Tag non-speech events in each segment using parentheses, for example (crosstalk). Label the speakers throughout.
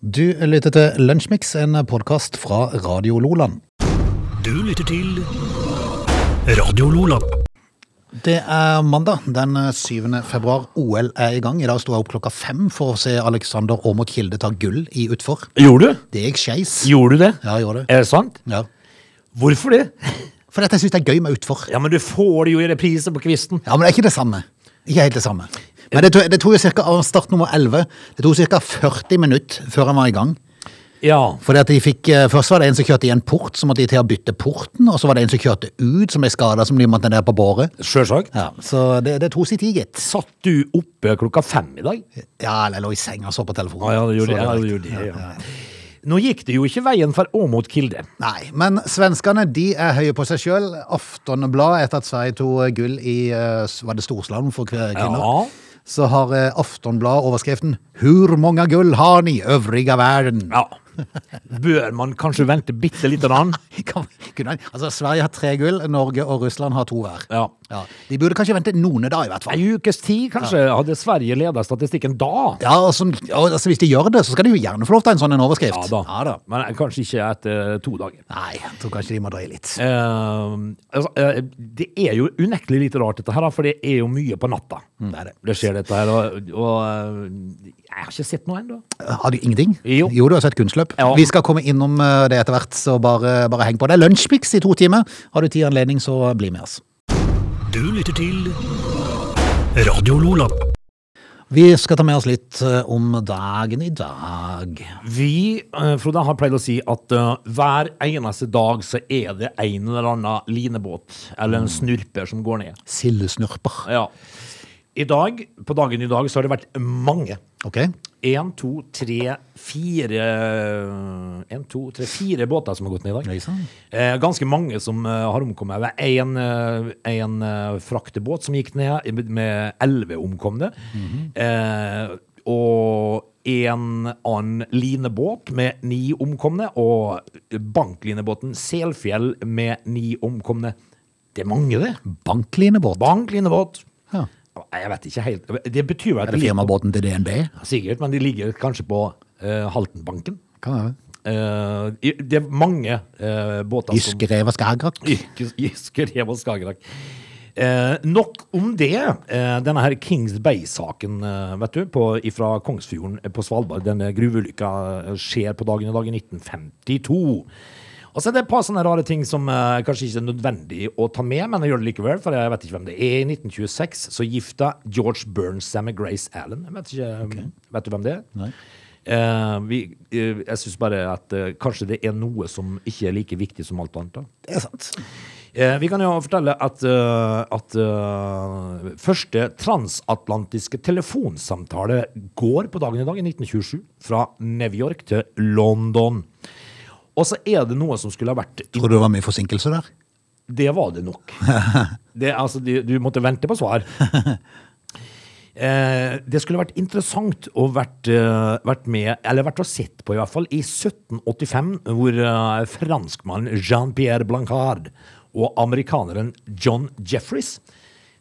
Speaker 1: Du lytter til Lunsjmix, en podkast fra Radio Loland.
Speaker 2: Du lytter til Radio Lola.
Speaker 1: Det er mandag den 7. februar. OL er i gang. I dag sto jeg opp klokka fem for å se Alexander Aamodt Kilde ta gull i utfor.
Speaker 3: Gjorde du?
Speaker 1: Det gikk skeis.
Speaker 3: Gjorde du det?
Speaker 1: Ja, jeg gjorde det.
Speaker 3: Er det sant?
Speaker 1: Ja.
Speaker 3: Hvorfor det?
Speaker 1: For dette syns jeg er gøy med utfor.
Speaker 3: Ja, men du får det jo i reprise på kvisten.
Speaker 1: Ja, men det er ikke det samme. Ikke helt det samme. Men det tok, det tok jo cirka, av start nummer 11 Det tok ca. 40 minutter før han var i gang.
Speaker 3: Ja.
Speaker 1: Fordi at de fikk, eh, Først var det en som kjørte i en port, så måtte de til å bytte porten. Og så var det en som kjørte ut, som ble skada, som de måtte ned på båret.
Speaker 3: Sjølsagt.
Speaker 1: Ja, så det, det tok sin tid, gitt.
Speaker 3: Satt du oppe klokka fem i dag?
Speaker 1: Ja, eller jeg lå i senga og så på telefonen.
Speaker 3: Ja, ja, det gjorde
Speaker 1: Så
Speaker 3: det. Ja,
Speaker 1: var
Speaker 3: det
Speaker 1: greit.
Speaker 3: gjorde det, ja. Nå gikk det jo ikke veien for Åmot Kilde.
Speaker 1: Nei, men svenskene de er høye på seg sjøl. Aftonbladet, etter at Sverige tok gull i eh, var det storslalåm for kve- kvinner,
Speaker 3: Ja.
Speaker 1: så har eh, Aftonbladet overskriften 'Hur mange gull har ni övriga verden?'
Speaker 3: Ja. Bør man kanskje vente bitte lite grann?
Speaker 1: (laughs) Kan- kunne han- Altså, Sverige har tre gull, Norge og Russland har to hver.
Speaker 3: Ja.
Speaker 1: Ja, De burde kanskje vente noen dager, i hvert fall.
Speaker 3: Ei ukes tid, kanskje, hadde Sverige leda statistikken da.
Speaker 1: Ja, og sånn- og, altså, Hvis de gjør det, så skal de jo gjerne få lov til en sånn en overskrift.
Speaker 3: Ja da. Men kanskje ikke etter to dager.
Speaker 1: Nei, jeg tror kanskje de må drøye litt.
Speaker 3: Eh, altså, eh, det er jo unektelig litt rart dette her, da, for det er jo mye på natta.
Speaker 1: det er det.
Speaker 3: Det skjer dette her, og, og eh, jeg har ikke sett noe ennå.
Speaker 1: Har du ingenting?
Speaker 3: Jo.
Speaker 1: du har sett kunstløp.
Speaker 3: Ja.
Speaker 1: Vi skal komme innom eh, det etter hvert, så bare, bare heng på. Det er lunsjpiks i to timer. Har du tid og anledning, så bli med oss.
Speaker 2: Du lytter til Radio Lola.
Speaker 1: Vi skal ta med oss litt eh, om dagen i dag.
Speaker 3: Vi, eh, Frode, har pleid å si at eh, hver eneste dag så er det en eller annen linebåt eller en snurper som går ned.
Speaker 1: Sildesnurper.
Speaker 3: Ja. I dag, På dagen i dag så har det vært mange.
Speaker 1: Ok?
Speaker 3: Én, to, tre, fire eh, En, to, tre, fire båter som har gått ned i dag.
Speaker 1: Oi, sann.
Speaker 3: Eh, ganske mange som eh, har omkommet. Det er en, eh, en eh, fraktebåt som gikk ned i- med elleve omkomne.
Speaker 1: Mhm.
Speaker 3: eh, og en annen linebåt med ni omkomne. Og banklinebåten Selfjell med ni omkomne. Det er mange, det.
Speaker 1: Banklinebåt.
Speaker 3: Banklinebåt.
Speaker 1: Ja.
Speaker 3: Jeg vet ikke helt. Det betyr vel at
Speaker 1: Er det
Speaker 3: de ligger,
Speaker 1: firmabåten til DNB?
Speaker 3: sikkert, men de ligger kanskje på eh, Haltenbanken.
Speaker 1: Kan være.
Speaker 3: Eh, i- det er mange eh, båter som
Speaker 1: Jyske rev og skagrak.
Speaker 3: Yrkes- Giske, Rev og Skagerrak. Eh, nok om det. Eh, denne her Kings Bay-saken eh, vet du, på, fra Kongsfjorden eh, på Svalbard. Denne gruveulykka eh, skjer på dagen i dag i 1952. Og så er det et par sånne rare ting som eh, kanskje ikke er nødvendig å ta med, men jeg gjør det likevel, for jeg vet ikke hvem det er. I 1926 så gifta George Burns seg med Grace Allen. Jeg vet, ikke, eh, vet du hvem det er?
Speaker 1: Nei.
Speaker 3: Eh, vi, eh, jeg syns bare at eh, kanskje det er noe som ikke er like viktig som alt annet. da.
Speaker 1: Det er sant.
Speaker 3: Eh, Vi kan jo fortelle at, eh, at eh, første transatlantiske telefonsamtale går på dagen i dag, i 1927, fra New York til London. Og så er det noe som skulle ha vært i-
Speaker 1: Tror du det var mye forsinkelse der?
Speaker 3: Det var det nok. Det, altså, du, du måtte vente på svar. Eh, det skulle vært interessant å vært, eh, vært med, eller vært og sett på i hvert fall, i 1785, hvor eh, franskmannen Jean-Pierre Blancard og amerikaneren John Jeffreys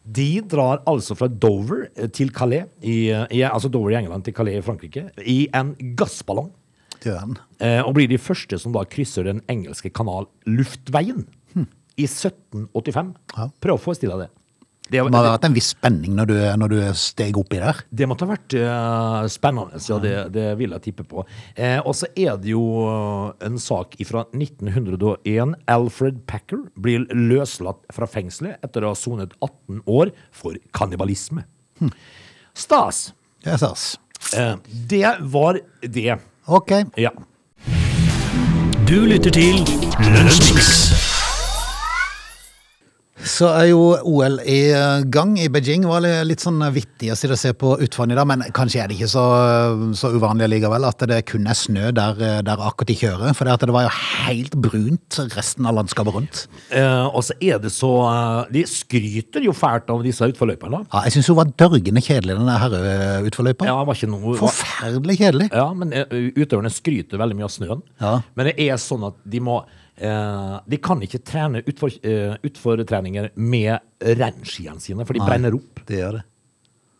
Speaker 3: de drar altså fra Dover eh, til Calais, i, eh, i, altså Dover i England til Calais i Frankrike, i en gassballong.
Speaker 1: Døren.
Speaker 3: Eh, og blir de første som da krysser den engelske kanal Luftveien i 1785.
Speaker 1: Ja.
Speaker 3: Prøv å forestille deg det. Det,
Speaker 1: Det må ha vært en viss spenning når du, når du steg oppi der.
Speaker 3: det måtte ha vært eh, spennende, så det, det vil jeg tippe på. Eh, og så er det jo eh, en sak fra 1901. Alfred Packer blir løslatt fra fengselet etter å ha sonet 18 år for kannibalisme.
Speaker 1: Hm.
Speaker 3: Stas!
Speaker 1: Det er stas.
Speaker 3: Eh, det var det.
Speaker 1: Ok.
Speaker 3: Ja.
Speaker 2: Du lytter til Lunsjmix.
Speaker 1: Så er jo OL i gang i Beijing. Det var li- litt sånn vittig å sitte og se på utvann i dag, men kanskje er det ikke så, så uvanlig likevel at det kun er snø der, der akkurat de kjører. For det, at det var jo helt brunt resten av landskapet rundt.
Speaker 3: Eh, og så er det så eh, De skryter jo fælt av disse utforløypene.
Speaker 1: Ja, jeg syns hun var dørgende kjedelig, den der herreutforløypa.
Speaker 3: Ja, det var ikke noe
Speaker 1: Forferdelig kjedelig.
Speaker 3: Ja, men eh, utøverne skryter veldig mye av snøen.
Speaker 1: Ja.
Speaker 3: Men det er sånn at de må eh, De kan ikke trene utfor, eh, utfortreninger med rennskiene sine, for de brenner opp.
Speaker 1: Det gjør det.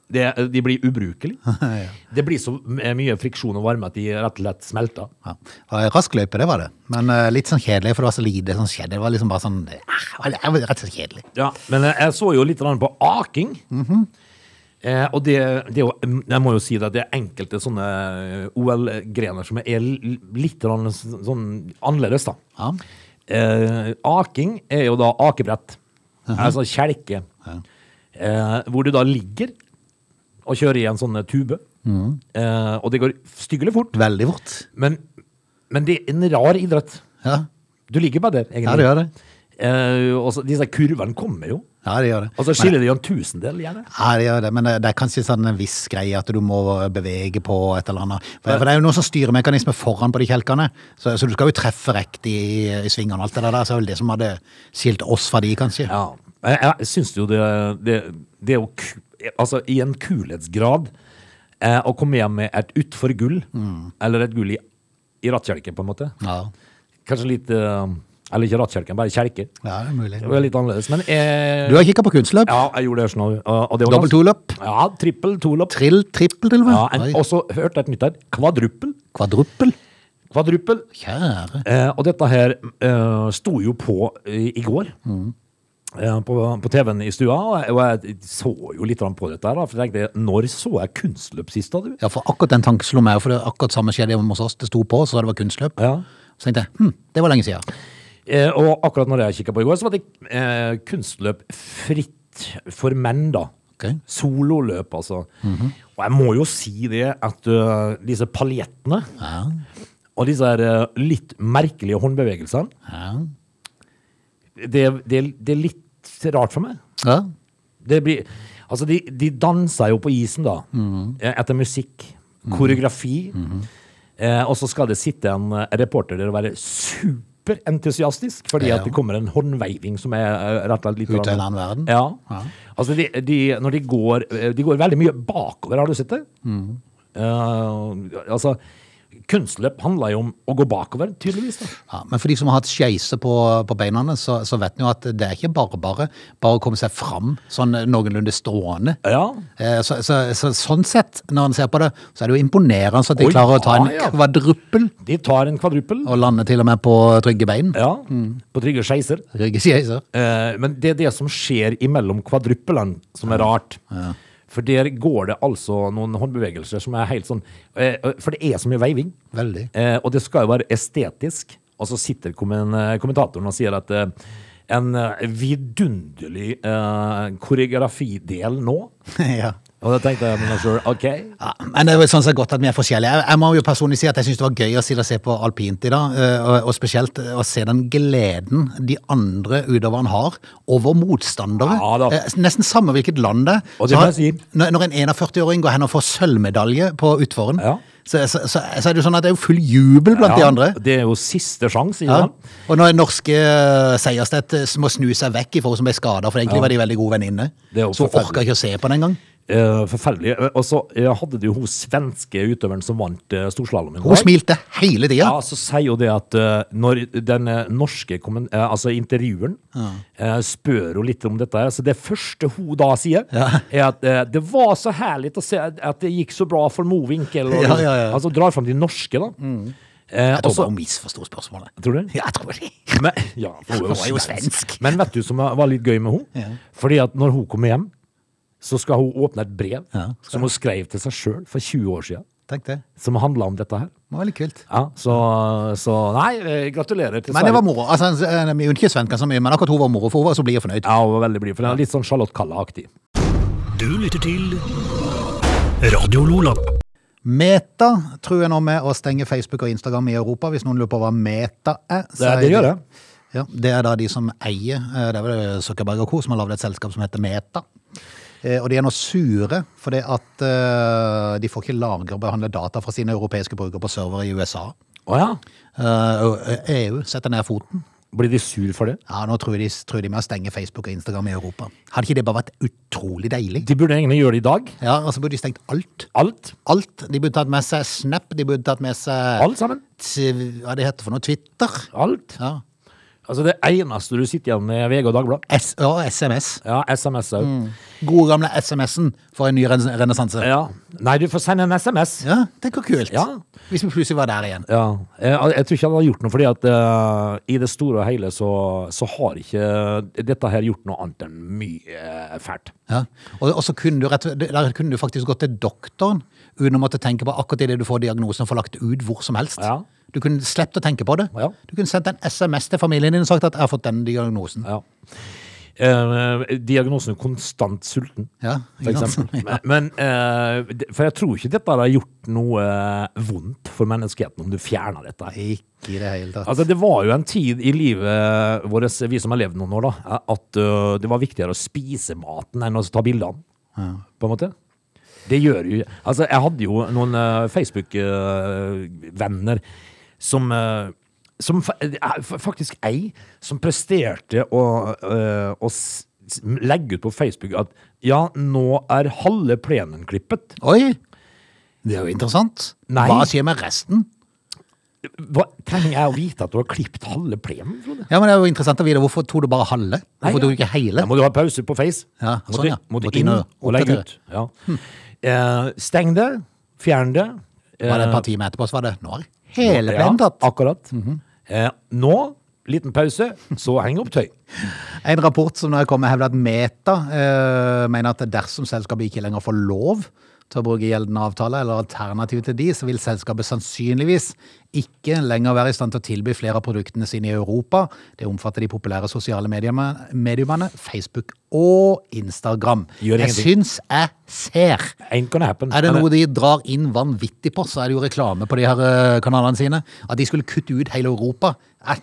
Speaker 3: Det, de blir ubrukelige.
Speaker 1: (laughs) Ja.
Speaker 3: Det blir så m- mye friksjon og varme at de rett og slett smelter.
Speaker 1: Ja. Eh, Rask løype, det var det. Men eh, litt sånn kjedelig, for det var så lite som skjedde. Det var liksom bare sånn eh, Det var rett og slett kjedelig.
Speaker 3: Ja, men jeg- jeg så jo litt grann på aking.
Speaker 1: Mhm.
Speaker 3: eh, og det, det er jo, jeg må jo si det, det er enkelte sånne OL-grener som er l- litt grann s- sånn annerledes, da.
Speaker 1: Ja.
Speaker 3: Eh, aking er jo da akebrett, altså kjelke, eh, hvor du da ligger og kjører i en sånn tube.
Speaker 1: Mhm.
Speaker 3: Eh, og det går styggelig fort,
Speaker 1: Veldig fort.
Speaker 3: men, men det er en rar idrett.
Speaker 1: Ja,
Speaker 3: Du ligger bare der, egentlig.
Speaker 1: ja det gjør det.
Speaker 3: Eh, og så, disse kurvene kommer jo.
Speaker 1: Ja, det gjør det.
Speaker 3: Altså skiller det jo en tusendel, gjerne.
Speaker 1: Ja, det gjør det, men det det er kanskje sånn en viss greie at du må bevege på et eller annet. For, for det er jo noen sånn styremekanismer foran på de kjelkene, så, så du skal jo treffe riktig i, i svingene og alt det der. Så det er vel det som hadde skilt oss fra de, kanskje.
Speaker 3: Ja. Jeg, jeg syns jo det, det, det er jo ku- Altså, i en kulhetsgrad eh, å komme hjem med et utfor gull, eller et gull i, i rattkjelken, på en måte.
Speaker 1: Ja,
Speaker 3: Kanskje litt eh, Eller ikke rattkjelken, bare kjelke.
Speaker 1: ja det er mulig.
Speaker 3: Det var litt annerledes. Men eh,
Speaker 1: Du har kikket på kunstløp?
Speaker 3: Ja, jeg gjorde det sånn. Og, og det var
Speaker 1: Dobbel
Speaker 3: ganske-
Speaker 1: toløp?
Speaker 3: Ja, trippel toløp.
Speaker 1: Trill, trippel, til og
Speaker 3: Ja, en-
Speaker 1: med? Oi,
Speaker 3: og så hørte jeg et nytt her. Kvadruppel.
Speaker 1: Kvadruppel?
Speaker 3: Kvadruppel.
Speaker 1: Kjære.
Speaker 3: Eh, og dette her eh, sto jo på i, i går. Eh, på på TV-en i stua. Og jeg, og jeg så jo litt grann på dette, her da, for jeg tenkte når så jeg kunstløp sist? da, du?
Speaker 1: Ja, for akkurat den tanken slo meg, for det var akkurat samme skjedde hjemme hos oss. Det sto på, så det var kunstløp.
Speaker 3: Ja.
Speaker 1: Så tenkte jeg, hm, det var lenge siden.
Speaker 3: Eh, og akkurat når jeg kikka på i går, så var det eh, kunstløp fritt for menn, da.
Speaker 1: Ok. Mhm.
Speaker 3: Sololøp, altså. Og jeg må jo si det at eh, disse paljettene
Speaker 1: Ja,
Speaker 3: og disse her, eh, litt merkelige håndbevegelsene,
Speaker 1: ja.
Speaker 3: det, det, det er litt rart for meg.
Speaker 1: Ja,
Speaker 3: Det blir, altså de, de danser jo på isen da,
Speaker 1: Mm.
Speaker 3: eh, etter musikk, koreografi,
Speaker 1: Mm-hmm.
Speaker 3: eh, og så skal det sitte en eh, reporter der og være superentusiastisk, fordi
Speaker 1: Ja.
Speaker 3: at det kommer en håndveiving som er eh, rett og slett litt...
Speaker 1: Ut av en annen verden.
Speaker 3: Ja.
Speaker 1: Ja.
Speaker 3: Altså de, de, når de går, eh, de går veldig mye bakover, har du sett det?
Speaker 1: Mm.
Speaker 3: Eh, altså, kunstløp handler jo om å gå bakover, tydeligvis da.
Speaker 1: Ja, men for de som har hatt skjeise på, på beina, så, så vet en jo at det er ikke bare bare bare å komme seg fram sånn noenlunde stående.
Speaker 3: Ja,
Speaker 1: Eh, Så, så, så, sånn sett, når en ser på det, så er det jo imponerende at de
Speaker 3: Oi,
Speaker 1: klarer å ta en
Speaker 3: ja, ja.
Speaker 1: kvadruppel
Speaker 3: de tar en kvadruppel,
Speaker 1: og Mm. lande til og med på trygge bein.
Speaker 3: ja, på trygge skjeiser.
Speaker 1: Trygge
Speaker 3: (laughs)
Speaker 1: skjeiser.
Speaker 3: Eh, men det er det som skjer imellom kvadruppelen som er rart. For der går det altså noen håndbevegelser som er helt sånn eh, For det er så mye veiving.
Speaker 1: Veldig.
Speaker 3: Eh, og det skal jo være estetisk. Og så sitter kommen, eh, kommentatoren og sier at eh, en eh, vidunderlig eh, koreografidel nå.
Speaker 1: ja.
Speaker 3: Og da tenkte jeg med meg sjøl OK.
Speaker 1: Ja, men det er jo sånn sett godt at vi er forskjellige. Jeg, jeg må jo personlig si at jeg syns det var gøy å sitte og se på alpint i dag, eh, og, og spesielt eh, å se den gleden de andre utøverne har over motstandere.
Speaker 3: Ja da.
Speaker 1: Eh, Nesten samme hvilket land det er.
Speaker 3: Og det
Speaker 1: Så
Speaker 3: må
Speaker 1: har-
Speaker 3: jeg si.
Speaker 1: Når, når en 41-åring går hen og får sølvmedalje på utforen,
Speaker 3: Ja.
Speaker 1: så, så, så, så er det jo sånn at det er jo full jubel blant de
Speaker 3: Ja,
Speaker 1: andre.
Speaker 3: Det er jo siste sjanse, ikke
Speaker 1: Ja.
Speaker 3: sant?
Speaker 1: Og når norske eh, Seierstedt eh, må snu seg vekk ifra hun som ble skada, for egentlig var de veldig gode venninner,
Speaker 3: Det er jo
Speaker 1: så hun
Speaker 3: forferdelig.
Speaker 1: orka ikke å se på den engang.
Speaker 3: Eh, forferdelig. Og så eh, hadde du hun svenske utøveren som vant uh, storslalåmen.
Speaker 1: Hun smilte hele tida.
Speaker 3: Ja, så sier jo det at eh, når den eh, norske kommen- eh, altså intervjueren eh, spør jo litt om dette, her, så det første hun da sier, (laughs) er at eh, det var så herlig å se at at det gikk så bra for Mowinckel. og-
Speaker 1: (laughs) Ja, ja, ja. Mm.
Speaker 3: Altså drar fram de norske, da. Eh,
Speaker 1: Jeg tror
Speaker 3: også-
Speaker 1: bare hun misforsto spørsmålet.
Speaker 3: Tror du?
Speaker 1: Ja, jeg tror det.
Speaker 3: men,
Speaker 1: (laughs)
Speaker 3: ja, for hun
Speaker 1: Hun er jo svensk.
Speaker 3: Men vet du som var litt gøy med hun?
Speaker 1: Ja.
Speaker 3: Fordi at når hun kommer hjem, så skal hun åpne et brev
Speaker 1: Ja,
Speaker 3: som hun skrev til seg sjøl for 20 år siden,
Speaker 1: Tenk det.
Speaker 3: som handla om dette her.
Speaker 1: Det var veldig kult.
Speaker 3: Ja, så, så Nei, eh, gratulerer til
Speaker 1: Men det var moro. Altså, Vi unner ikke svenskene så mye, men akkurat hun var moro, for hun var så blid og fornøyd.
Speaker 3: Ja, hun var veldig blid, for den er litt sånn Charlotte Kalla-aktig.
Speaker 2: Du lytter til Radio Lola.
Speaker 1: Meta tror jeg nå med å stenge Facebook og Instagram i Europa, hvis noen lurer på hva Meta er. så
Speaker 3: Det-
Speaker 1: er
Speaker 3: det gjør det.
Speaker 1: Ja, det er da de som eier eh, Det er vel Zuckerberg og co. som har lagd et selskap som heter Meta. Eh, Og de er nå sure fordi at eh, de får ikke lagre og behandle data fra sine europeiske brukere på servere i USA.
Speaker 3: Å ja?
Speaker 1: Eh, og EU setter ned foten.
Speaker 3: Blir de sur for det?
Speaker 1: Ja, nå tror de, tror de med å stenge Facebook og Instagram i Europa. Hadde ikke det bare vært utrolig deilig?
Speaker 3: De burde egentlig gjøre det i dag.
Speaker 1: Ja, og så burde de stengt alt.
Speaker 3: Alt.
Speaker 1: Alt. De burde tatt med seg Snap, de burde tatt med seg
Speaker 3: Alt sammen.
Speaker 1: t- Hva det heter for noe? Twitter?
Speaker 3: Alt.
Speaker 1: Ja.
Speaker 3: Altså Det eneste du sitter igjen med, er VG og Dagbladet.
Speaker 1: S ja, SMS.
Speaker 3: Ja, SMS òg.
Speaker 1: Gode gamle SMS-en for en ny rens- renessanse.
Speaker 3: Ja. Nei, du får sende en SMS.
Speaker 1: Ja, tenk hvor kult.
Speaker 3: Eh. Ja.
Speaker 1: Hvis vi plutselig var der igjen.
Speaker 3: Ja. Jeg, jeg tror ikke han har gjort noe, fordi at eh, i det store og hele så, så har ikke dette her gjort noe annet enn mye eh, fælt.
Speaker 1: Ja. Og, og så kunne du, rett, der kunne du faktisk gått til doktoren uten å måtte tenke på akkurat idet du får diagnosen og får lagt ut hvor som helst.
Speaker 3: Ja.
Speaker 1: Du kunne sluppet å tenke på det.
Speaker 3: Ja.
Speaker 1: Du kunne sendt en SMS til familien din og sagt at 'jeg har fått den diagnosen'.
Speaker 3: Ja. Eh, diagnosen konstant sulten,
Speaker 1: (laughs) Ja,
Speaker 3: for
Speaker 1: ikke
Speaker 3: eksempel.
Speaker 1: sant?
Speaker 3: Men, eh, det- for jeg tror ikke dette har gjort noe vondt for menneskeheten om du fjerner dette. her.
Speaker 1: Ikke i det hele tatt.
Speaker 3: Altså, det var jo en tid i livet vårt, vi som har levd noen år, da, at ø, det var viktigere å spise maten enn å ta bildene. På en måte. Det gjør jo Altså, jeg hadde jo noen øh, Facebook-venner som ø, som fa- eh, fa- faktisk ei som presterte å, ø, å s- s- legge ut på Facebook at ja, nå er halve plenen klippet.
Speaker 1: Oi! Det er jo interessant.
Speaker 3: Nei.
Speaker 1: Hva skjer med resten?
Speaker 3: Hva, trenger jeg å vite at du har klippet halve plenen, Frode?
Speaker 1: Ja, men Det er jo interessant å vite. Hvorfor tok du bare halve? Hvorfor tok
Speaker 3: ja.
Speaker 1: du ikke hele?
Speaker 3: Da må du ha pause på Face.
Speaker 1: Ja,
Speaker 3: Da må
Speaker 1: sånn,
Speaker 3: du-
Speaker 1: ja.
Speaker 3: Må du
Speaker 1: Måtte
Speaker 3: inn
Speaker 1: inn og
Speaker 3: og legge
Speaker 1: oppdatere. Hm.
Speaker 3: ut. Ja. Eh, steng det. Fjern det. Eh,
Speaker 1: Var det et par timer etterpå, så var det Nå har hele
Speaker 3: ja,
Speaker 1: plenen tatt.
Speaker 3: akkurat.
Speaker 1: Mhm.
Speaker 3: eh, nå, liten pause, så heng opp tøy.
Speaker 1: En rapport som nå er kommet, hevder at Meta eh, mener at dersom selskapet ikke lenger får lov til å bruke gjeldende avtale eller alternativ til de, så vil selskapet sannsynligvis ikke lenger være i stand til å tilby flere av produktene sine i Europa. Det omfatter de populære sosiale mediene, mediumene Facebook og Instagram.
Speaker 3: Gjør
Speaker 1: Jeg
Speaker 3: ingenting.
Speaker 1: syns jeg ser.
Speaker 3: Ain't gonna happen.
Speaker 1: Er det
Speaker 3: Men,
Speaker 1: noe de drar inn vanvittig på, så er det jo reklame på de her eh, kanalene sine. At de skulle kutte ut hele Europa. Eh,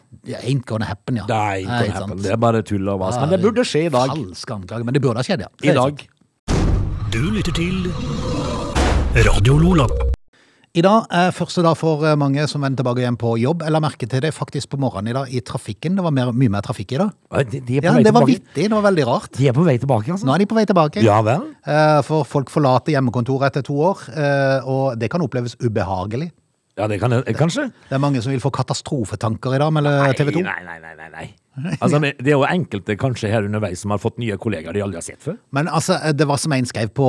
Speaker 1: Ain't gonna happen, ja. Eh,
Speaker 3: det er ain't gonna
Speaker 1: ikke sant.
Speaker 3: happen. Det er bare tull og vas. Men det burde skje i dag.
Speaker 1: Falsk anklage, men det burde ha skjedd, ja. Det
Speaker 3: I
Speaker 1: er sant.
Speaker 3: dag.
Speaker 2: Du lytter til Radio Lola.
Speaker 1: I dag er første dag for eh, mange som vender tilbake hjem på jobb. Jeg la merke til det faktisk på morgenen i dag i trafikken. Det var mer, mye mer trafikk i dag.
Speaker 3: Eh, De, de, er på
Speaker 1: Ja,
Speaker 3: vei
Speaker 1: Det var
Speaker 3: tilbake.
Speaker 1: vittig. Det var veldig rart.
Speaker 3: de er på vei tilbake, altså.
Speaker 1: Nå er de på vei tilbake.
Speaker 3: Ja vel.
Speaker 1: Eh, For folk forlater hjemmekontoret etter to år, eh, og det kan oppleves ubehagelig.
Speaker 3: Ja, det kan jeg kanskje.
Speaker 1: Det er mange som vil få katastrofetanker i dag med eh, TV 2.
Speaker 3: Nei, nei, nei. nei, nei. Altså, men det er jo enkelte kanskje her underveis som har fått nye kollegaer de aldri har sett før.
Speaker 1: Men altså, det var som en skrev på,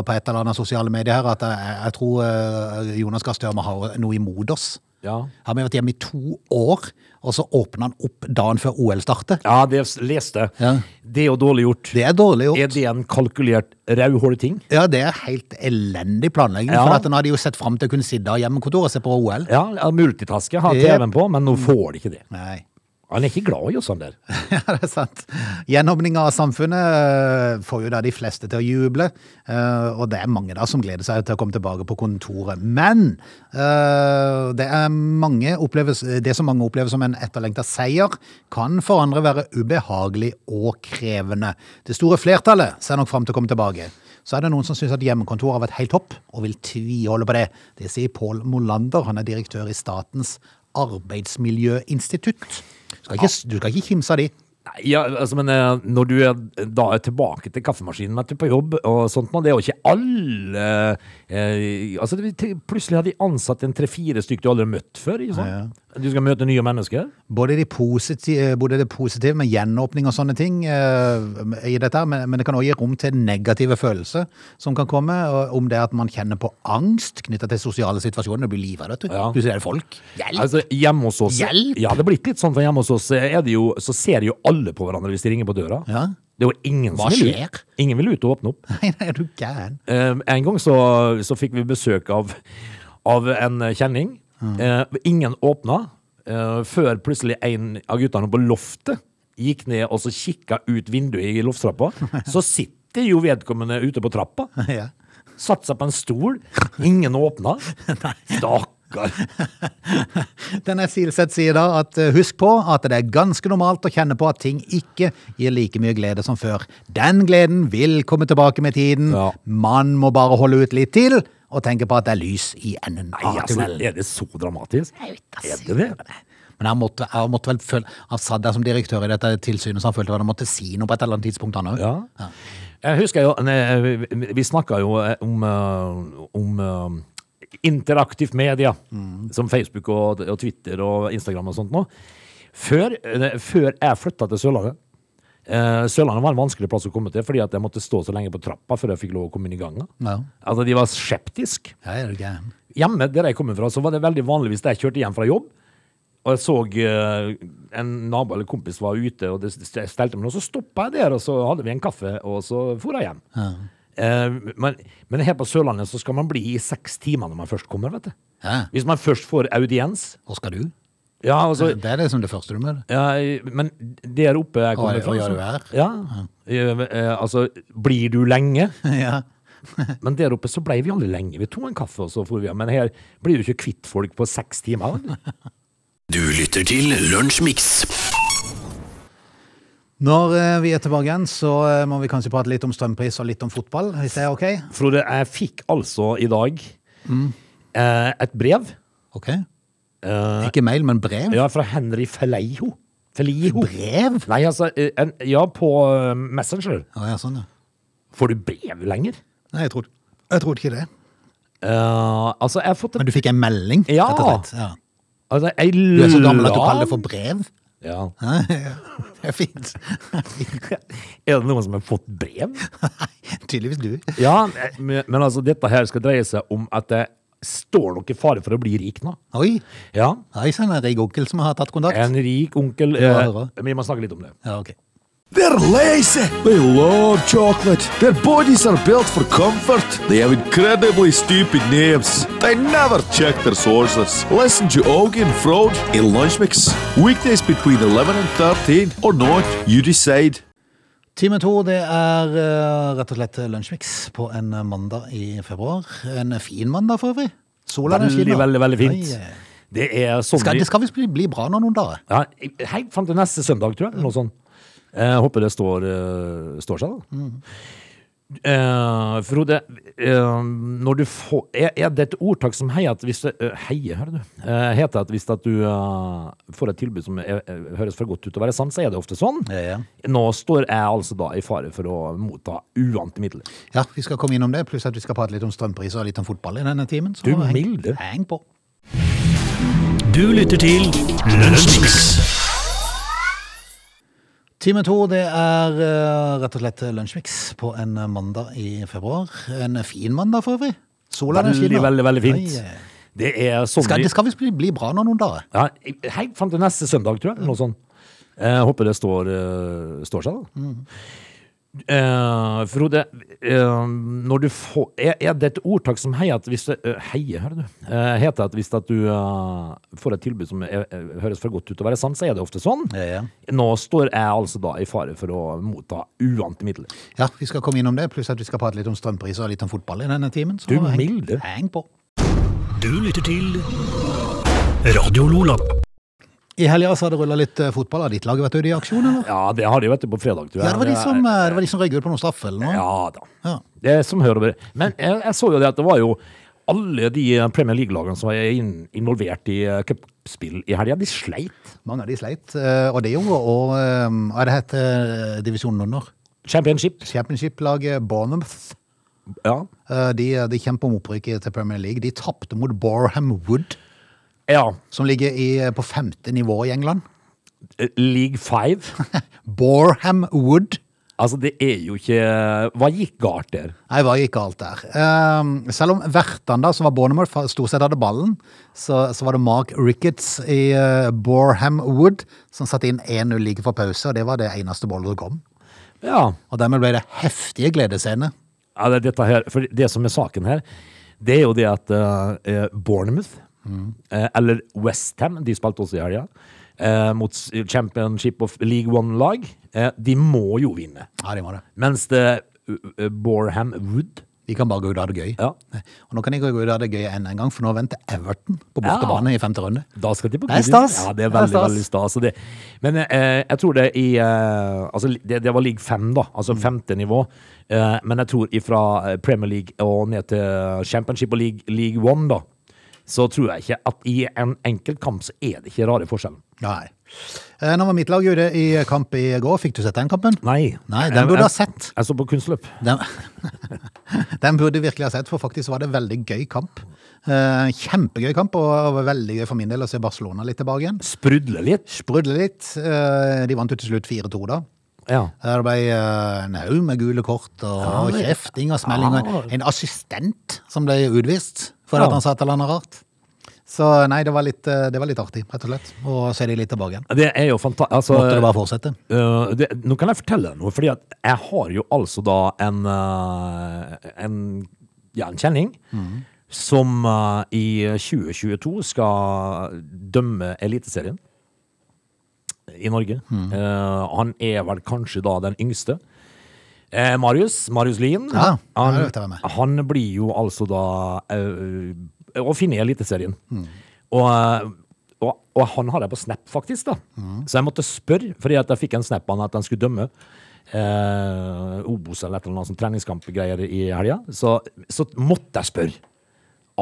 Speaker 1: på et eller annet sosiale medier her, at jeg, jeg tror eh, Jonas Gahr Størme har noe imot oss.
Speaker 3: Ja.
Speaker 1: Han har vært hjemme i to år, og så åpner han opp dagen før OL starter.
Speaker 3: Ja, det s- leste.
Speaker 1: Ja.
Speaker 3: Det er jo dårlig gjort.
Speaker 1: Det er dårlig
Speaker 3: Er
Speaker 1: gjort.
Speaker 3: det en kalkulert rauhåleting?
Speaker 1: Ja, det er helt elendig planlegging.
Speaker 3: Ja.
Speaker 1: For at nå har de jo sett fram til å kunne sitte i hjemmekontoret og se på OL.
Speaker 3: Ja, ja, multitaske, har
Speaker 1: Jep.
Speaker 3: TV-en på, men nå får de ikke det.
Speaker 1: Nei.
Speaker 3: Han er ikke glad i oss, han der.
Speaker 1: (laughs) Ja, det er sant. Gjenåpninga av samfunnet eh, får jo da de fleste til å juble, eh, og det er mange da som gleder seg til å komme tilbake på kontoret. Men eh, det, er mange oppleves, det som mange opplever som en etterlengta seier, kan for andre være ubehagelig og krevende. Det store flertallet ser nok fram til å komme tilbake. Så er det noen som syns at hjemmekontor har vært helt topp, og vil tviholde på det. Det sier Pål Molander, han er direktør i Statens arbeidsmiljøinstitutt. Du skal ikke, du skal ikke kimse av de.
Speaker 3: Nei, ja, altså, men eh, når du er, da er tilbake til kaffemaskinen vet du, på jobb og sånt, nå, det er jo ikke alle eh, altså, det, til- Plutselig har de ansatt en tre-fire stykk du aldri har møtt før. Ikke sant? Du skal møte nye mennesker.
Speaker 1: Både, de positive, både det positive med gjenåpning og sånne ting eh, i dette, her, men, men det kan også gi rom til negative følelser som kan komme. og Om det er at man kjenner på angst knytta til sosiale situasjoner. Du blir livredd, vet du.
Speaker 3: Ja.
Speaker 1: Plutselig er det folk. Hjelp!
Speaker 3: Altså, hjemme hos oss
Speaker 1: Hjelp!
Speaker 3: Ja, det er blitt litt sånn, for hjemme hos oss er det jo, så ser jo alle på hverandre hvis de ringer på døra.
Speaker 1: Ja.
Speaker 3: Det er jo ingen
Speaker 1: Hva
Speaker 3: som vil ut.
Speaker 1: skjer?
Speaker 3: Ingen vil ut og åpne opp.
Speaker 1: (laughs) Nei, nei, er du gæren? (laughs)
Speaker 3: Eh, en gang så, så fikk vi besøk av, av en kjenning. Eh, ingen åpna eh, før plutselig en av guttene på loftet gikk ned og så kikka ut vinduet i loftstrappa. Så sitter jo vedkommende ute på trappa.
Speaker 1: Ja.
Speaker 3: Satt seg på en stol. Ingen åpna. Stakkar.
Speaker 1: Denne Silseth sier da at eh, husk på at det er ganske normalt å kjenne på at ting ikke gir like mye glede som før. Den gleden vil komme tilbake med tiden.
Speaker 3: Ja.
Speaker 1: Man må bare holde ut litt til og tenke på at det er lys i enden
Speaker 3: Nei,
Speaker 1: av
Speaker 3: altså,
Speaker 1: tunnelen.
Speaker 3: er det så dramatisk?
Speaker 1: altså.
Speaker 3: Er det det?
Speaker 1: Men han måtte, han måtte vel føle Han satt der som direktør i dette tilsynet, så han følte vel han måtte si noe på et eller annet tidspunkt, han òg.
Speaker 3: Ja. Jeg husker jo ne, Vi, vi snakka jo eh, om, eh, om eh, interaktivt media, som Facebook og, og Twitter og Instagram og sånt nå. Før, eh, før jeg flytta til Sørlandet eh, Sørlandet var en vanskelig plass å komme til, fordi at jeg måtte stå så lenge på trappa før jeg fikk lov å komme inn i gangen.
Speaker 1: Ja.
Speaker 3: Altså, de var skeptiske.
Speaker 1: Ja, er du gæren.
Speaker 3: Hjemme der jeg kommer fra, så var det veldig vanlig hvis jeg kjørte hjem fra jobb, og jeg så eh, en nabo eller kompis var ute, og det st- stelte med noe, så stoppa jeg der, og så hadde vi en kaffe, og så for jeg hjem. Eh, men, men her på Sørlandet så skal man bli i seks timer når man først kommer, vet du.
Speaker 1: Ja.
Speaker 3: Hvis man først får audiens.
Speaker 1: Hvor skal du?
Speaker 3: Ja, altså,
Speaker 1: Det er liksom det første du møter.
Speaker 3: ja, men der oppe jeg
Speaker 1: Å,
Speaker 3: kommer
Speaker 1: ja,
Speaker 3: fra
Speaker 1: ja,
Speaker 3: så-
Speaker 1: du er.
Speaker 3: Ja, Eh, eh, altså, blir du lenge?
Speaker 1: (laughs) ja.
Speaker 3: Men der oppe så ble vi aldri lenge. Vi tok en kaffe, og så for vi hjem. Men her blir du ikke kvitt folk på seks timer. vet du.
Speaker 2: Du lytter til Lunsjmix.
Speaker 1: Når eh, vi er tilbake igjen, så eh, må vi kanskje prate litt om strømpris og litt om fotball, hvis det er ok?
Speaker 3: Frode, jeg fikk altså i dag eh, et brev
Speaker 1: Ok. Ikke mail, men brev?
Speaker 3: ja, fra Henry Feleiho. Feleiho.
Speaker 1: (laughs) Brev?
Speaker 3: Nei, altså, eh, en, ja, på eh, Messenger.
Speaker 1: Å, ja, sånn, ja.
Speaker 3: Får du brev lenger?
Speaker 1: Nei, jeg trodde, jeg trodde ikke det.
Speaker 3: Eh, altså, jeg har fått en,
Speaker 1: Men du fikk en melding,
Speaker 3: Ja.
Speaker 1: rett og slett? Ja.
Speaker 3: altså, ei
Speaker 1: Du er så gammel at du kaller det for brev?
Speaker 3: ja. (laughs)
Speaker 1: Ja, ja. Det er fint. (laughs)
Speaker 3: Er det noen som har fått brev?
Speaker 1: Tydeligvis du.
Speaker 3: Ja, (laughs) men, men altså, dette her skal dreie seg om at det står nok i fare for å bli rik nå.
Speaker 1: Oi,
Speaker 3: Ja,
Speaker 1: Oi sann, det er Rigg Onkel som har tatt kontakt.
Speaker 3: en rik onkel.
Speaker 1: Ja,
Speaker 3: eh,
Speaker 1: det var.
Speaker 3: Vi må snakke litt om det.
Speaker 1: Ja, ok.
Speaker 4: They're lazy. They love chocolate. Their bodies are built for comfort. They have incredibly stupid names. They never check their sources. Listen to Augie and Frode in Lunch Mix. Weekdays between 11 and 13 or not, you decide.
Speaker 1: Time to, det er eh, rett og slett Lunsjmix på en mandag i februar. En fin mandag, for øvrig. Sola den
Speaker 3: Veldig,
Speaker 1: skinner.
Speaker 3: veldig, veldig fint.
Speaker 1: Oi, eh.
Speaker 3: Det er sånn
Speaker 1: Skal,
Speaker 3: vi-
Speaker 1: det skal visst bli, bli bra nå noen dager.
Speaker 3: ja, Helt fram til neste søndag, tror jeg. eller Noe sånt. Jeg håper det står, eh, står seg, da. Eh, Frode, eh, når du får er, er det et ordtak som heier at hvis det, eh, Heier, hører du. Eh, heter at hvis at du eh, får et tilbud som er, er- høres for godt ut til å være sant, så er det ofte sånn.
Speaker 1: Ja, ja.
Speaker 3: Nå står jeg altså da i fare for å motta uante midler.
Speaker 1: Ja, Vi skal komme innom det, pluss at vi skal prate litt om strømpris og litt om fotball i denne timen. Så
Speaker 3: Du
Speaker 1: heng-
Speaker 3: milde.
Speaker 1: Heng på.
Speaker 2: Du lytter til Lunsjmix.
Speaker 1: Time to, det er eh, rett og slett Lunsjmix på en mandag i februar. En fin mandag, for øvrig. Sola den
Speaker 3: Veldig,
Speaker 1: skinner.
Speaker 3: veldig, veldig fint.
Speaker 1: Oi, eh.
Speaker 3: Det er sånn
Speaker 1: Skal,
Speaker 3: vi-
Speaker 1: det skal visst bli, bli bra nå noen dager.
Speaker 3: Ja, helt fram til neste søndag, tror jeg. Noe sånt. Jeg håper det står, eh, står seg, da. Eh, Frode, eh, når du får er, er det et ordtak som heier at hvis det, eh, Heier, hører du. Eh, heter at hvis at du eh, får et tilbud som er, er, høres for godt ut til å være sant, så er det ofte sånn.
Speaker 1: Ja, ja.
Speaker 3: Nå står jeg altså da i fare for å motta uante midler.
Speaker 1: Ja, vi skal komme innom det, pluss at vi skal prate litt om strømpris og litt om fotball i denne timen. Så
Speaker 3: Du
Speaker 1: heng,
Speaker 3: milde.
Speaker 1: Heng på.
Speaker 2: Du lytter til Radio Lola.
Speaker 1: I helga så har det rulla litt eh, fotball. Har ditt lag vært ute i aksjon, eller?
Speaker 3: Ja, det har de jo etter på fredag, tror jeg.
Speaker 1: Ja, det var de som, eh, det var de som røyk ut på noen straffe eller noe.
Speaker 3: Ja da.
Speaker 1: Ja.
Speaker 3: Det er som hører og bør. Men jeg, jeg så jo det at det var jo alle de eh, Premier League-lagene som var inn, involvert i eh, cupspill i helga, de sleit.
Speaker 1: Mange av de sleit, eh, og det gjorde og eh, Hva er det heter eh, divisjonen under?
Speaker 3: Championship.
Speaker 1: Championship-laget Bournemouth.
Speaker 3: Ja.
Speaker 1: eh, De, de kjemper om opprykket til Premier League. De tapte mot Borham Wood,
Speaker 3: ja.
Speaker 1: som ligger i, eh, på femte nivå i England.
Speaker 3: eh, League five.
Speaker 1: Borham Wood.
Speaker 3: Altså, det er jo ikke Hva gikk galt der?
Speaker 1: Nei, hva gikk galt der? Ehm, selv om vertene da, som var Bournemouth, fa- stort sett hadde ballen, så, så var det Mark Ricketts i eh, Boreham Wood som satte inn 1-0 like for pause, og det var det eneste målet som kom.
Speaker 3: Ja.
Speaker 1: Og dermed ble det heftige gledesscener.
Speaker 3: ja det, er dette her, for det som er saken her, det er jo det at eh, eh, Bournemouth, eh, eller Westham, de spilte også i helga, eh, mot s- Championship of League One-lag, eh, de må jo vinne.
Speaker 1: Ja, de var det.
Speaker 3: Mens det uh, uh, Boreham Wood
Speaker 1: De kan bare gå ut og ha det gøy.
Speaker 3: Ja.
Speaker 1: Og nå kan de gå ut og ha det gøy enda en gang, for nå venter Everton på bortebane i femte runde.
Speaker 3: Da skal de på
Speaker 1: Det er
Speaker 3: Goodison.
Speaker 1: stas.
Speaker 3: Ja, det er
Speaker 1: Det er
Speaker 3: veldig,
Speaker 1: stas.
Speaker 3: veldig stas. og Det. Men eh, jeg tror det i eh, Altså, det, det var league fem, da.
Speaker 1: Mm.
Speaker 3: Altså femte nivå. Eh, men jeg tror ifra eh, Premier League og ned til Championship og league, league One, da, så tror jeg ikke at i en enkelt kamp så er det ikke rare forskjellen.
Speaker 1: Nei. Eh, Nå var mitt lag ute i kamp i går. Fikk du sett den kampen?
Speaker 3: Nei.
Speaker 1: Nei,
Speaker 3: Jeg-
Speaker 1: den burde
Speaker 3: jeg-
Speaker 1: ha sett.
Speaker 3: Jeg
Speaker 1: (laughs)
Speaker 3: så på kunstløp.
Speaker 1: Den, den burde virkelig ha sett, for faktisk var det en veldig gøy kamp. Eh, Kjempegøy kamp, og og veldig gøy for min del å se Barcelona litt tilbake igjen.
Speaker 3: Sprudle litt.
Speaker 1: Sprudle litt. eh, De vant jo til slutt 4-2 da.
Speaker 3: Ja.
Speaker 1: Der det ble eh, en haug med gule kort og
Speaker 3: det-
Speaker 1: kjefting og smelling. og
Speaker 3: Ja.
Speaker 1: en- En assistent som ble utvist fordi
Speaker 3: Ja.
Speaker 1: at han sa et eller annet rart. Så nei, det var litt, eh, det var litt artig, rett og slett. Og så er de litt tilbake igjen.
Speaker 3: Det er jo fantastisk. Altså,
Speaker 1: Måtte det bare fortsette.
Speaker 3: Eh, det, nå kan jeg fortelle deg noe, fordi at jeg har jo altså da en, eh, en, ja, en kjenning som eh, i 2022 skal dømme Eliteserien i Norge.
Speaker 1: Mm.
Speaker 3: Eh, han er vel kanskje da den yngste. Eh, Marius, Marius Lien,
Speaker 1: Ja,
Speaker 3: han,
Speaker 1: jeg vet hvem jeg er.
Speaker 3: han blir jo altså da eh, å finne i Eliteserien.
Speaker 1: Mm.
Speaker 3: Og, eh, og, og han har jeg på Snap, faktisk. da.
Speaker 1: Mm.
Speaker 3: Så jeg måtte spørre, fordi at jeg fikk en Snap han at han skulle dømme. Eh, Obos eller et eller annet sånn treningskampgreier i helga. Så, så måtte jeg spørre,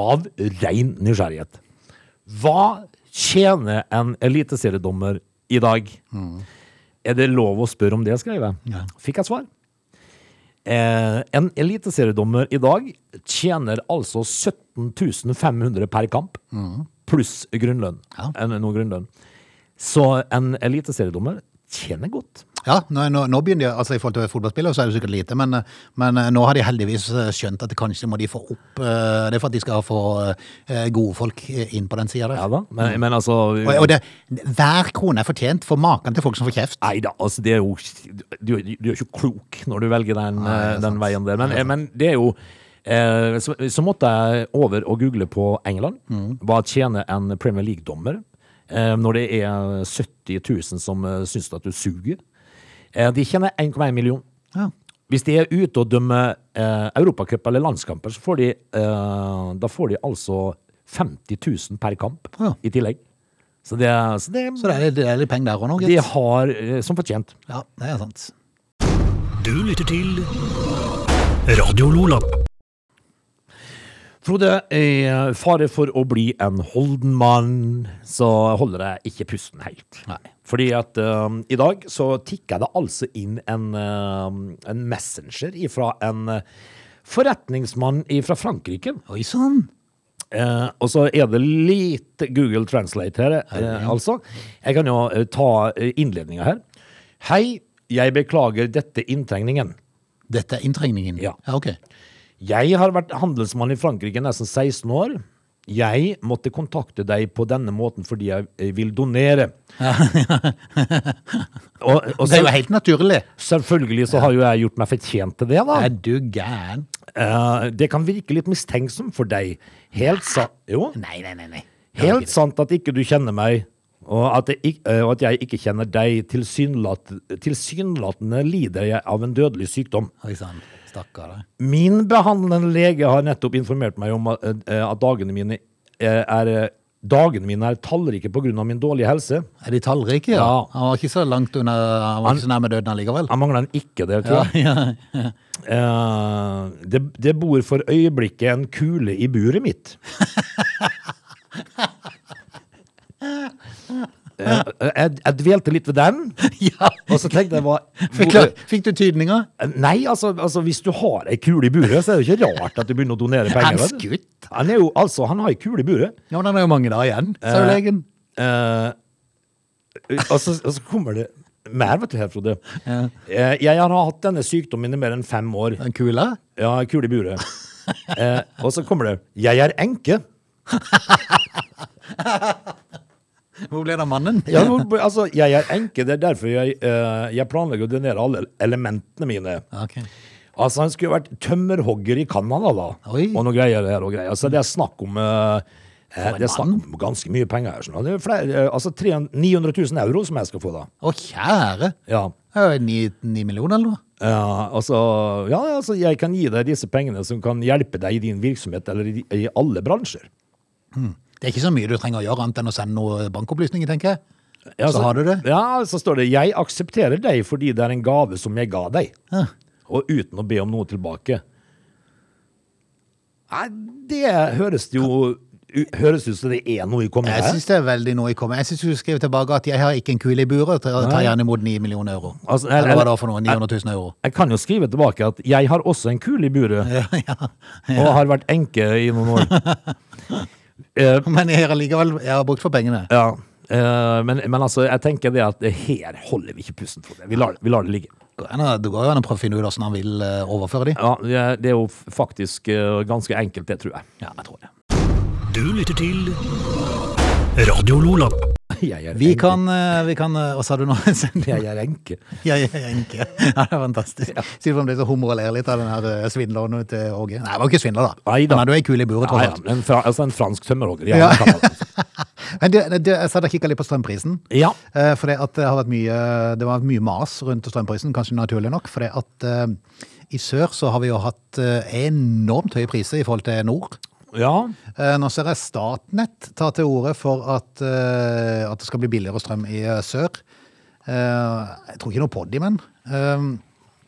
Speaker 3: av rein nysgjerrighet, hva tjener en eliteseriedommer i dag? Er det lov å spørre om det, skrev jeg.
Speaker 1: Mm. Ja.
Speaker 3: Fikk jeg svar. Eh, en eliteseriedommer i dag tjener altså 17 500 per kamp, pluss grunnlønn.
Speaker 1: Mm. Ja.
Speaker 3: Eh, noe grunnlønn. Så en eliteseriedommer tjener godt.
Speaker 1: Ja, nå, nå, nå begynner de, altså I forhold til fotballspillere så er det sikkert lite, men, men eh, nå har de heldigvis eh, skjønt at kanskje må de få opp eh, Det er for at de skal få eh, gode folk inn på den sida der.
Speaker 3: Ja da, men, men altså
Speaker 1: Mm. Og, og det, hver krone er fortjent for maken til folk som får kjeft.
Speaker 3: Nei da, altså det er jo Du, du er jo ikke klok når du velger den,
Speaker 1: Nei, det er
Speaker 3: den
Speaker 1: sant.
Speaker 3: veien der. Men, men det er jo eh, så, så måtte jeg over og google på England.
Speaker 1: Mm.
Speaker 3: Hva tjener en Premier League-dommer eh, når det er 70 000 som eh, syns at du suger? Eh, de tjener 1,1 million.
Speaker 1: Ja.
Speaker 3: Hvis de er ute og dømmer eh, Europacup eller landskamper, så får de, eh, da får de altså 50 000 per kamp
Speaker 1: Ja.
Speaker 3: i tillegg. Så det, er- så det,
Speaker 1: Så det er, det er litt penger der òg nå,
Speaker 3: de
Speaker 1: gitt.
Speaker 3: har eh, som fortjent.
Speaker 1: Ja, det er sant.
Speaker 2: Du lytter til Radio Lola.
Speaker 3: Frode, i fare for å bli en Holden-mann, så holder jeg ikke pusten helt.
Speaker 1: Nei.
Speaker 3: Fordi at øhm, i dag så tikket det altså inn en, øhm, en messenger fra en øh, forretningsmann fra Frankrike.
Speaker 1: Oi sann!
Speaker 3: Eh, og så er det litt Google Translate her, eh, altså. Jeg kan jo eh, ta eh, innledningen her. Hei, jeg beklager dette inntrengningen.
Speaker 1: Dette er inntrengningen?
Speaker 3: Ja.
Speaker 1: ok.
Speaker 3: Jeg har vært handelsmann i Frankrike nesten 16 år. Jeg måtte kontakte deg på denne måten fordi jeg eh, vil donere. (laughs) og, og
Speaker 1: det er jo
Speaker 3: selv,
Speaker 1: helt naturlig.
Speaker 3: selvfølgelig så har jo jeg gjort meg fortjent til det, da.
Speaker 1: Er du gæren?
Speaker 3: Eh, det kan virke litt mistenksom for deg. Helt, sa jo,
Speaker 1: Nei, nei, nei. nei.
Speaker 3: helt sant at ikke du kjenner meg, og at, jeg, ikk- eh, og at jeg ikke kjenner deg. Tilsynelat, tilsynelatende lider jeg av en dødelig sykdom.
Speaker 1: Oi sann. Stakkar. da.
Speaker 3: Min behandlende lege har nettopp informert meg om at, eh, at dagene mine eh, er eh, Dagene mine er tallrike pga. min dårlige helse.
Speaker 1: Er de tallrike? Ja.
Speaker 3: Ja.
Speaker 1: Han var ikke så langt under Han var ikke så nærme døden allikevel.
Speaker 3: Jeg mangler en ikke der,
Speaker 1: (laughs)
Speaker 3: tror jeg. Eh, det, det bor for øyeblikket en kule i buret
Speaker 1: (laughs)
Speaker 3: mitt. Eh, jeg, jeg dvelte litt ved den,
Speaker 1: (laughs) ja.
Speaker 3: og så tenkte jeg hva
Speaker 1: Fikk, klar- fikk du tydninga?
Speaker 3: Nei, altså, altså hvis du har ei kule i buret, så er det jo ikke rart at du begynner å donere
Speaker 1: Er
Speaker 3: penger.
Speaker 1: han
Speaker 3: vet du.
Speaker 1: skutt?
Speaker 3: Han er jo, altså, han har ei kule i buret.
Speaker 1: Ja, men han er jo mange dager igjen, sa jo
Speaker 3: Eh.
Speaker 1: legen.
Speaker 3: Eh, og, så, og så Altså, kommer det mer, vet du, her, Frode. Eh, jeg har hatt denne sykdommen i mer enn fem år.
Speaker 1: Den kula?
Speaker 3: Ja, kul i buret. Eh, og så kommer det 'Jeg er enke'.
Speaker 1: Hvor ble det av mannen?
Speaker 3: Ja, hvor- altså, jeg er enke, det er derfor jeg, eh, jeg planlegger å donere alle elementene mine.
Speaker 1: Ok.
Speaker 3: Altså, han skulle vært tømmerhogger i Canada, da.
Speaker 1: Oi.
Speaker 3: Og noe greier her og greier. Så det er snakk om eh, eh,
Speaker 1: en
Speaker 3: Det er snakk om ganske mye penger her. Sånn. Det er flere, eh, altså 300 900 000 euro som jeg skal få, da.
Speaker 1: Å, kjære.
Speaker 3: Ja.
Speaker 1: Det er jo Ni, ni millioner, eller noe?
Speaker 3: Ja, altså, ja, altså, jeg kan gi deg disse pengene som kan hjelpe deg i din virksomhet eller i, i alle bransjer.
Speaker 1: Det er ikke så mye du trenger å gjøre annet enn å sende noen bankopplysninger, tenker jeg.
Speaker 3: Ja,
Speaker 1: Så har du det?
Speaker 3: Altså, Ja, så står det 'Jeg aksepterer deg fordi det er en gave som jeg ga deg',
Speaker 1: Ja.
Speaker 3: og uten å be om noe tilbake. Nei, det høres jo u- høres ut som det er noe i
Speaker 1: Jeg
Speaker 3: kommende.
Speaker 1: syns det er veldig noe i komme. Jeg syns du skrev tilbake at 'jeg har ikke en kule i buret', ta ta gjerne imot 9 millioner euro.
Speaker 3: Altså, eller-
Speaker 1: Eller hva da for noe? 900 000
Speaker 3: (laughs)
Speaker 1: euro?
Speaker 3: Jeg kan jo skrive tilbake at jeg har også en kule i buret,
Speaker 1: Ja, (laughs) ja.
Speaker 3: og har vært enke i noen år. Eh,
Speaker 1: Men jeg har likevel jeg har brukt for pengene.
Speaker 3: ja, eh, men, men altså, jeg tenker det at her holder vi ikke pusten for det. Vi lar, vi lar det ligge.
Speaker 1: Går an å- Det går jo an å prøve å finne ut hvordan han vil eh, overføre de.
Speaker 3: Ja, det er jo f- faktisk eh, ganske enkelt, det tror jeg.
Speaker 1: Ja, jeg tror det. (laughs)
Speaker 2: Du lytter til Radio Lola.
Speaker 3: Jeg er
Speaker 1: Vi
Speaker 3: enke.
Speaker 1: kan, eh, vi kan eh, Hva sa du nå? (laughs)
Speaker 3: Jeg er enke.
Speaker 1: Ja, jeg er enke. Ja, det er fantastisk. Sier du om det er så humor og ler litt av den her eh, svindleren til Åge? Nei, det var jo ikke svindler, da.
Speaker 3: Nei da.
Speaker 1: Men du er ei kule i buret,
Speaker 3: Ja,
Speaker 1: tross
Speaker 3: ja,
Speaker 1: alt.
Speaker 3: en, fra, altså en fransk tømmerhogger. Ja,
Speaker 1: Ja.
Speaker 3: det
Speaker 1: (laughs)
Speaker 3: kan man.
Speaker 1: Men det, det, jeg satt og kikka litt på strømprisen.
Speaker 3: ja.
Speaker 1: Eh, For det, at det, har vært mye, det var mye mas rundt strømprisen, kanskje naturlig nok. For det at eh, i sør så har vi jo hatt eh, enormt høye priser i forhold til nord.
Speaker 3: ja.
Speaker 1: Eh, Nå ser jeg Statnett ta til orde for at, eh, at det skal bli billigere strøm i eh, sør. Eh, Jeg tror ikke noe på de, men. eh,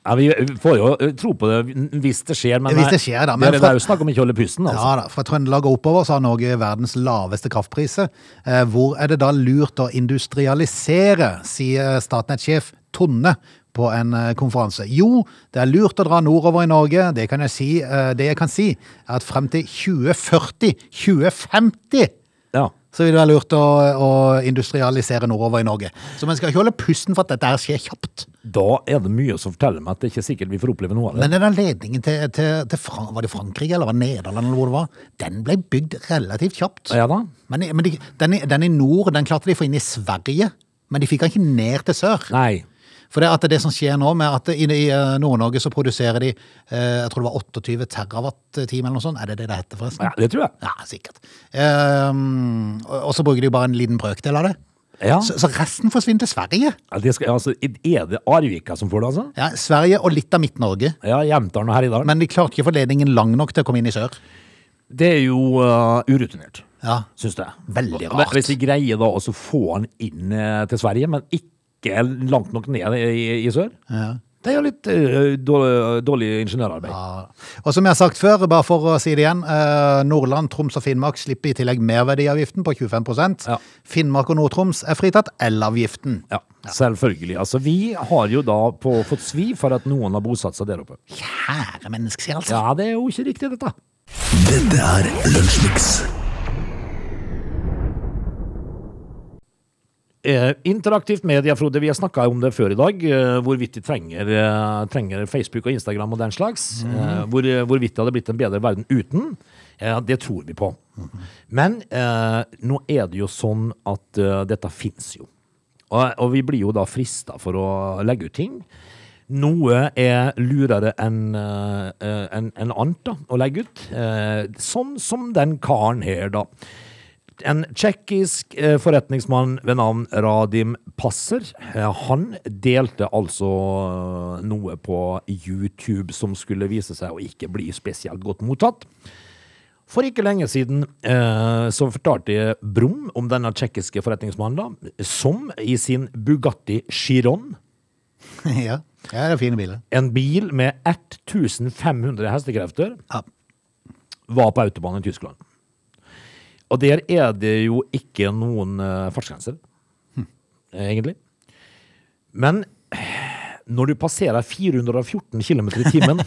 Speaker 3: Ja, vi vi får jo eh, tro på det hvis det skjer, men
Speaker 1: Hvis det skjer, da,
Speaker 3: det-
Speaker 1: men
Speaker 3: det,
Speaker 1: fra-
Speaker 3: er jo snakk om ikke å holde pusten, altså.
Speaker 1: Ja da, Fra Trøndelag og oppover så har Norge verdens laveste kraftpriser. Eh, Hvor er det da lurt å industrialisere, sier Statnett-sjef Tonne på en eh, konferanse. Jo, det er lurt å dra nordover i Norge. Det, kan jeg si, eh, det jeg kan si, er at frem til 2040-2050
Speaker 3: Ja.
Speaker 1: så vil det være lurt å, å industrialisere nordover i Norge. Så man skal ikke holde pusten for at dette her skjer kjapt.
Speaker 3: Da er det mye som forteller meg at det er ikke sikkert vi får oppleve noe av det.
Speaker 1: Men den ledningen til, til, til Fran var det Frankrike eller var det Nederland eller hvor det var, den ble bygd relativt kjapt.
Speaker 3: ja da.
Speaker 1: Men, men de, den, i- den i nord, den klarte de å få inn i Sverige, men de fikk den ikke ned til sør.
Speaker 3: Nei.
Speaker 1: For det, at det som skjer nå med at i, i eh, Nord-Norge så produserer de, eh, jeg tror det var 28 terawatt-time eller noe sånt, er det det det heter forresten?
Speaker 3: Ja, det tror jeg.
Speaker 1: Ja, sikkert. Ehm, og, og så bruker de jo bare en liten brøkdel av det.
Speaker 3: Ja.
Speaker 1: Så, så resten forsvinner til Sverige.
Speaker 3: Ja, det skal, altså, er det Arvika som får det, altså?
Speaker 1: Ja, Sverige og litt av Midt-Norge.
Speaker 3: Ja, Jevndalen og Herjedalen.
Speaker 1: Men de klarte ikke å få ledningen lang nok til å komme inn i sør.
Speaker 3: Det er jo uh, urutinert,
Speaker 1: Ja.
Speaker 3: syns jeg.
Speaker 1: Veldig
Speaker 3: Men
Speaker 1: rart.
Speaker 3: Hvis de greier da også å få han inn eh, til Sverige, men ikke langt nok ned i, i, i sør, det er jo litt eh, dårlig, dårlig ingeniørarbeid.
Speaker 1: Ja. Og som jeg har sagt før, bare for å si det igjen, eh, Nordland, Troms og Finnmark slipper i tillegg merverdiavgiften på 25
Speaker 3: Ja.
Speaker 1: Finnmark og Nord-Troms er fritatt elavgiften.
Speaker 3: Ja, selvfølgelig. Altså, vi har jo da på, fått svi for at noen har bosatt seg der oppe.
Speaker 1: Kjære menneske, altså.
Speaker 3: Ja, det er jo ikke riktig, dette.
Speaker 2: Dette er Lunsjmix.
Speaker 3: Eh, interaktivt media, Frode. Vi har snakka om det før i dag. Eh, hvorvidt de trenger, eh, trenger Facebook og Instagram og den slags. Eh, hvor, hvorvidt det hadde blitt en bedre verden uten. Eh, det tror vi på. Men eh, nå er det jo sånn at eh, dette fins jo. Og, og vi blir jo da frista for å legge ut ting. Noe er lurere enn eh, eh, enn- enn annet da, å legge ut. Eh, sånn som den karen her, da. En tsjekkisk eh, forretningsmann ved navn Radim Passer, eh, han delte altså eh, noe på YouTube som skulle vise seg å ikke bli spesielt godt mottatt. For ikke lenge siden eh, så fortalte Brum om denne tsjekkiske forretningsmannen, da, som i sin Bugatti Chiron,
Speaker 1: (laughs) ja. ja, det er fine biler.
Speaker 3: en bil med 1500 hestekrefter,
Speaker 1: Ja.
Speaker 3: var på autobanen i Tyskland. Og der er det jo ikke noen eh, fartsgrenser, egentlig. Men når du passerer 414 km i timen,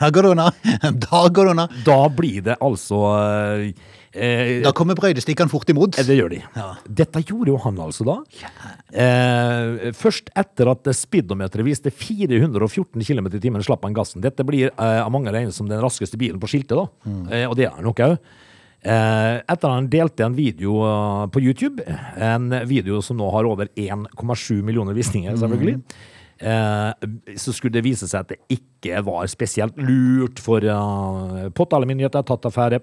Speaker 1: Da går det unna. (laughs) Da går det unna.
Speaker 3: da blir det altså eh, eh,
Speaker 1: Da kommer brøytestikkene fort imot.
Speaker 3: det gjør de.
Speaker 1: Ja.
Speaker 3: Dette gjorde jo han altså da. Eh, først etter at speedometeret viste 414 km i timen, slapp han gassen. Dette blir eh, av mange regnet som den raskeste bilen på skiltet, da. Eh, og det er han nok òg. Eh, etter han delte en video eh, på YouTube, en video som nå har over 1,7 millioner visninger, selvfølgelig, eh, så skulle det vise seg at det ikke var spesielt lurt for eh, påtalemyndigheter tatt affære.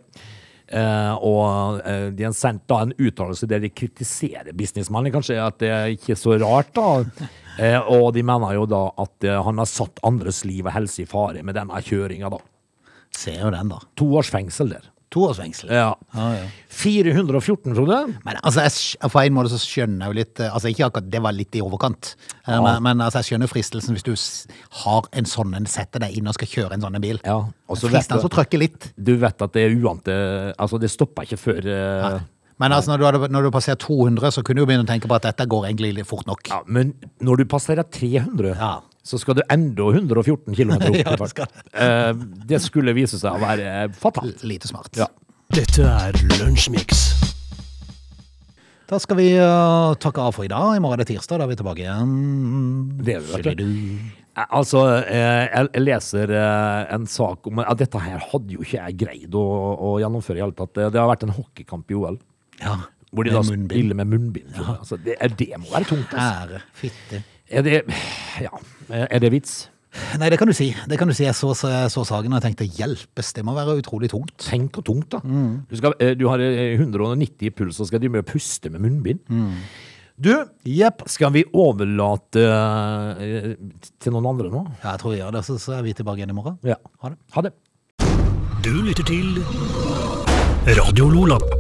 Speaker 3: Eh, og eh, de har sendt da en uttalelse der de kritiserer businessmannen, kanskje at det er ikke så rart, da. Eh, og de mener jo da at eh, han har satt andres liv og helse i fare med denne kjøringa, da.
Speaker 1: Ser jo den, da.
Speaker 3: To års fengsel der.
Speaker 1: To års fengsel.
Speaker 3: Ja.
Speaker 1: Ah, Ja, ja.
Speaker 3: 414, Frode.
Speaker 1: Men altså, jeg, skj- på en måte så skjønner jeg jo litt eh, Altså, ikke akkurat det var litt i overkant, eh, men, men altså, jeg skjønner fristelsen hvis du s- har en sånn en, setter deg inn og skal kjøre en sånn en bil.
Speaker 3: Ja, og så vet
Speaker 1: Fristende
Speaker 3: du-
Speaker 1: å trykke litt.
Speaker 3: Du vet at det er uante Altså, det stopper ikke før eh,
Speaker 1: Men altså, når du, hadde, når du passerer 200, så kunne du jo begynne å tenke på at dette går egentlig litt fort nok.
Speaker 3: ja, Men når du passerer 300,
Speaker 1: Ja.
Speaker 3: så skal du enda 114 km opp. i
Speaker 1: (laughs) Ja,
Speaker 3: fart.
Speaker 1: skal
Speaker 3: Eh, det skulle vise seg å være eh, fatalt.
Speaker 1: L- Lite smart.
Speaker 3: Ja.
Speaker 2: Dette er Lunsjmix.
Speaker 1: Da skal vi eh, takke av for i dag. I morgen er det tirsdag, da er vi tilbake igjen.
Speaker 3: Det er vi, vet du. Eh, Altså, eh, jeg jeg leser eh, en sak om ja, Dette her hadde jo ikke jeg greid å, å gjennomføre i hele tatt. Det har vært en hockeykamp i OL.
Speaker 1: Ja.
Speaker 3: Hvor de
Speaker 1: Med
Speaker 3: da
Speaker 1: munnbind.
Speaker 3: spiller med munnbind. Altså, det, er- det må være tungt. Altså.
Speaker 1: Ære. Fitte.
Speaker 3: Er det Ja. Er det vits?
Speaker 1: Nei, det kan du si. Det kan du si. Jeg så, så, jeg så saken og jeg tenkte hjelpes, det må være utrolig tungt.
Speaker 3: Tenk hvor tungt, da.
Speaker 1: Mm.
Speaker 3: Du, skal, eh, du har eh, 190 i puls, og skal drive med å puste med munnbind.
Speaker 1: Mm.
Speaker 3: Du, jepp, skal vi overlate eh, til noen andre nå?
Speaker 1: Ja, jeg tror vi gjør det, så, så er vi tilbake igjen i morgen.
Speaker 3: Ja.
Speaker 1: Ha det.
Speaker 3: Ha det.
Speaker 2: Du lytter til Radio Lola.